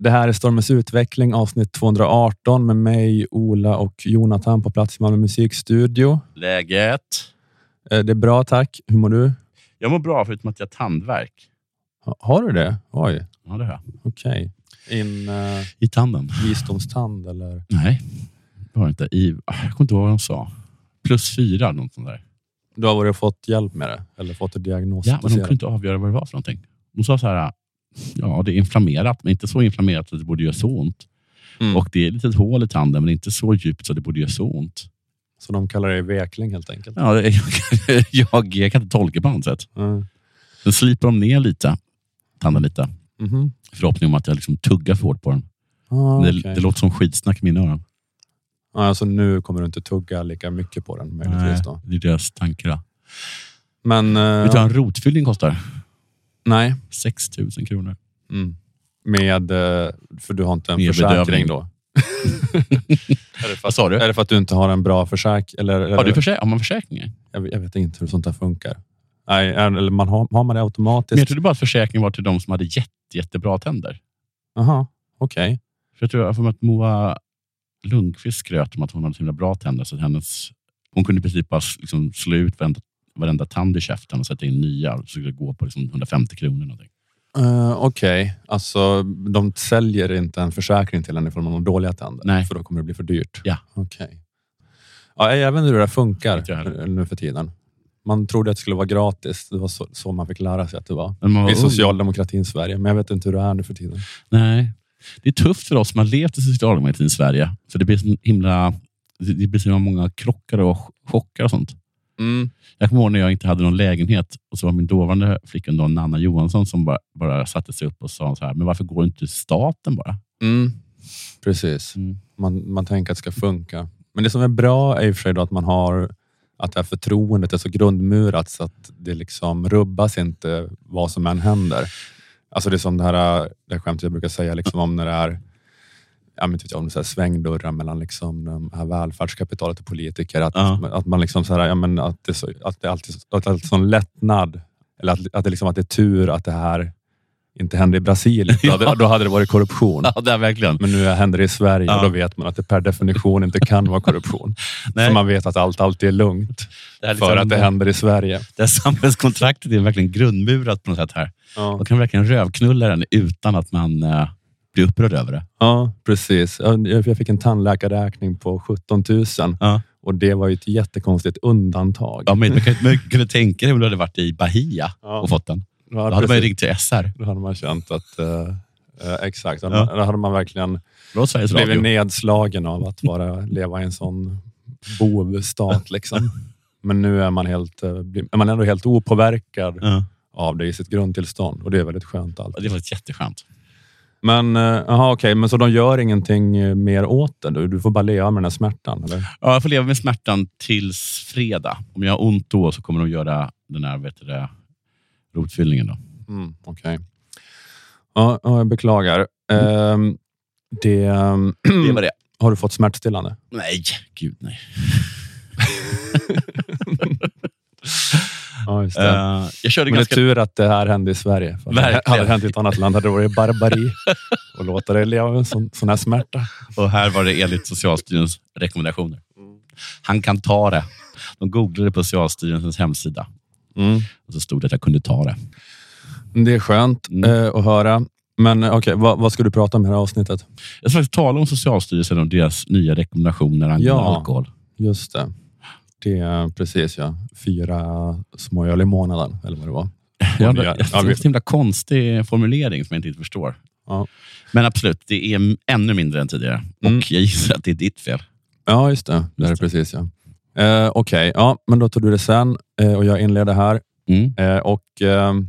Det här är Stormens utveckling, avsnitt 218 med mig, Ola och Jonathan på plats i Malmö musikstudio. Läget? Eh, Det är bra, tack. Hur mår du? Jag mår bra förutom att jag har tandvärk. Ha- Har du det? Oj, Ja, det har jag. okej. In eh, I tanden? visdomstand eller? Nej, det har jag inte. I, ah, jag kommer inte ihåg vad de sa. Plus fyra, något sånt där. Du har varit och fått hjälp med det? Eller fått det Ja, men de diagnostiserat? kunde inte avgöra vad det var för någonting. De sa så här, ja det är inflammerat, men inte så inflammerat att det borde göra så ont. Mm. Och det är ett litet hål i tanden, men inte så djupt så att det borde göra så ont. Så de kallar det vekling helt enkelt? Ja, det- jag, jag, jag kan inte tolka på annat sätt. Mm. Sen slipar de ner lite, tanden lite. Mhm. Förhoppning om att jag liksom tuggar för hårt på den. Ah, Det, okej. det låter som skitsnack i mina öron. Ja, Alltså nu kommer du inte tugga lika mycket på den möjligtvis då. det är deras tankar. då. Men eh, Vet du vad en rotfyllning kostar? nej. 6 000 kronor. Mm. Med, eh, för du har inte en Med försäkring bedövning. då? är, det för Vad att, sa du? är det för att du inte har en bra försäkring? Eller, eller, Har, du försä- har man försäkringar? jag, vet- jag vet inte hur sånt där funkar. Nej, eller man har, har man det Men jag automatiskt? trodde bara att försäkringen var till de som hade jätte, jättebra tänder. Jaha, okej. För jag tror jag har för mig att Moa Lundqvist skröt om att hon hade så himla bra tänder. Så att hennes, hon kunde i princip bara s- liksom slå ut varenda, varenda tand i käften och sätta in nya. Så skulle det gå på liksom 150 kronor. Någonting. Eh, Okej, alltså de säljer inte en försäkring till en ifall man har dåliga tänder. Nej. För då kommer det bli för dyrt. Ja. Okej. Ja, jag vet inte hur det där funkar Inte jag heller. nu för tiden. Man trodde att det skulle vara gratis. Det var så, så man fick lära sig att det var. Men man var I ung. socialdemokratins Sverige, men jag vet inte hur det är nu för tiden. Nej. Det är tufft för oss som har levt i socialdemokratin i Sverige. För det blir så himla... Det det blir så många krockar och ch- chockar och sånt. Jag kommer ihåg när jag inte hade någon lägenhet och så var min dåvarande flickvän då, Nanna Johansson som bara, bara satte sig upp och sa så här, men varför går inte staten bara? Mm. Precis. Mm. Man, man tänker att det ska funka. Men det som är bra är i och för sig då att man har att det här förtroendet är så grundmurat så att det liksom rubbas inte vad som än händer. Alltså det är som det här, det här skämtet jag brukar säga liksom om när det är jag vet inte om det är så här svängdörrar mellan liksom de här välfärdskapitalet och politiker. Att, Ja. att man liksom så här, ja, men att det, är så, att det alltid att det alltid är sån lättnad. Eller att, att, det liksom, att det är tur att det här inte händer i Brasilien. Då hade, då hade det varit korruption. Ja, det är verkligen. Men nu händer det i Sverige Ja. och då vet man att det per definition inte kan vara korruption. Nej. Så man vet att allt alltid är lugnt Det, här för att det liksom händer i Sverige. det här samhällskontraktet är verkligen grundmurat på något sätt här. Man kan verkligen rövknulla den utan att man eh, blir upprörd över det. Ja, precis. Jag jag fick en tandläkarräkning på 17 000 Ja. och det var ju ett jättekonstigt undantag. Ja, men man kan man kunde tänka dig om du hade varit i Bahia Ja. och fått den. Ja, Då hade man ju precis. ringt till SR. då hade man känt att... eh, eh, exakt. Då hade, Ja. man, då hade man verkligen Det var Sveriges Radio. blivit nedslagen av att vara, leva i en sån bovstat. Liksom. Men nu är man, helt, eh, blir- är man ändå helt opåverkad Ja. av det i sitt grundtillstånd och det är väldigt skönt. Allt. Ja, Det var ett jätteskönt. Men, eh, aha, okej, men så de gör ingenting eh, mer åt det? Du, du får bara leva med den här smärtan? Eller? Ja, jag får leva med smärtan tills fredag. Om jag har ont då så kommer de göra den här vet du, det, rotfyllningen. Då. Mm, okej. Ja, ja, jag beklagar. Ehm, det, ehm, Det var det. har du fått smärtstillande? Nej, gud nej. Ja, just det. Eh, jag körde men det är ganska... tur att det här hände i Sverige. För hade det Verkligen. hade hänt i ett annat land hade det varit barbari och låta dig leva med en sån, sån här smärta. typ- Och här var det enligt Socialstyrelsens rekommendationer. Han kan ta det. De googlade på Socialstyrelsens hemsida och så stod det att jag kunde ta det. Det är skönt Mm. eh, att höra. Men eh, okej, vad, vad ska du prata om i det här avsnittet? Jag ska faktiskt tala om Socialstyrelsen och deras nya rekommendationer angående Ja. alkohol. Just det. Det är precis ja. Fyra små öl i månaden, eller vad det var. Ja, det det gör- det är en så himla konstig formulering som jag inte riktigt förstår. Ja. Men absolut, det är m- ännu mindre än tidigare. Mm. Och jag gissar att det är ditt fel. Ja, just det. Det är Just precis ja. Eh, Okej, ja, men då tar du det sen eh, och jag inleder här. Mm. Eh, och, ehm,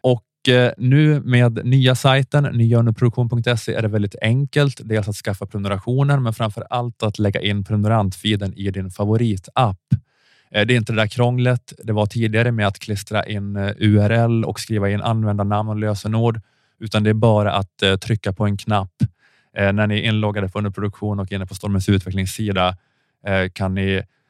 Och eh, nu med nya sajten nyaunderproduktion.se är det väldigt enkelt. Dels att skaffa prenumerationer, men framför allt att lägga in prenumerantfiden i din favoritapp. Eh, Det är inte det där krånglet det var tidigare med att klistra in eh, URL och skriva in användarnamn och lösenord, utan det är bara att eh, trycka på en knapp. Eh, När ni är inloggade på underproduktion och inne på Stormens utvecklingssida eh, kan ni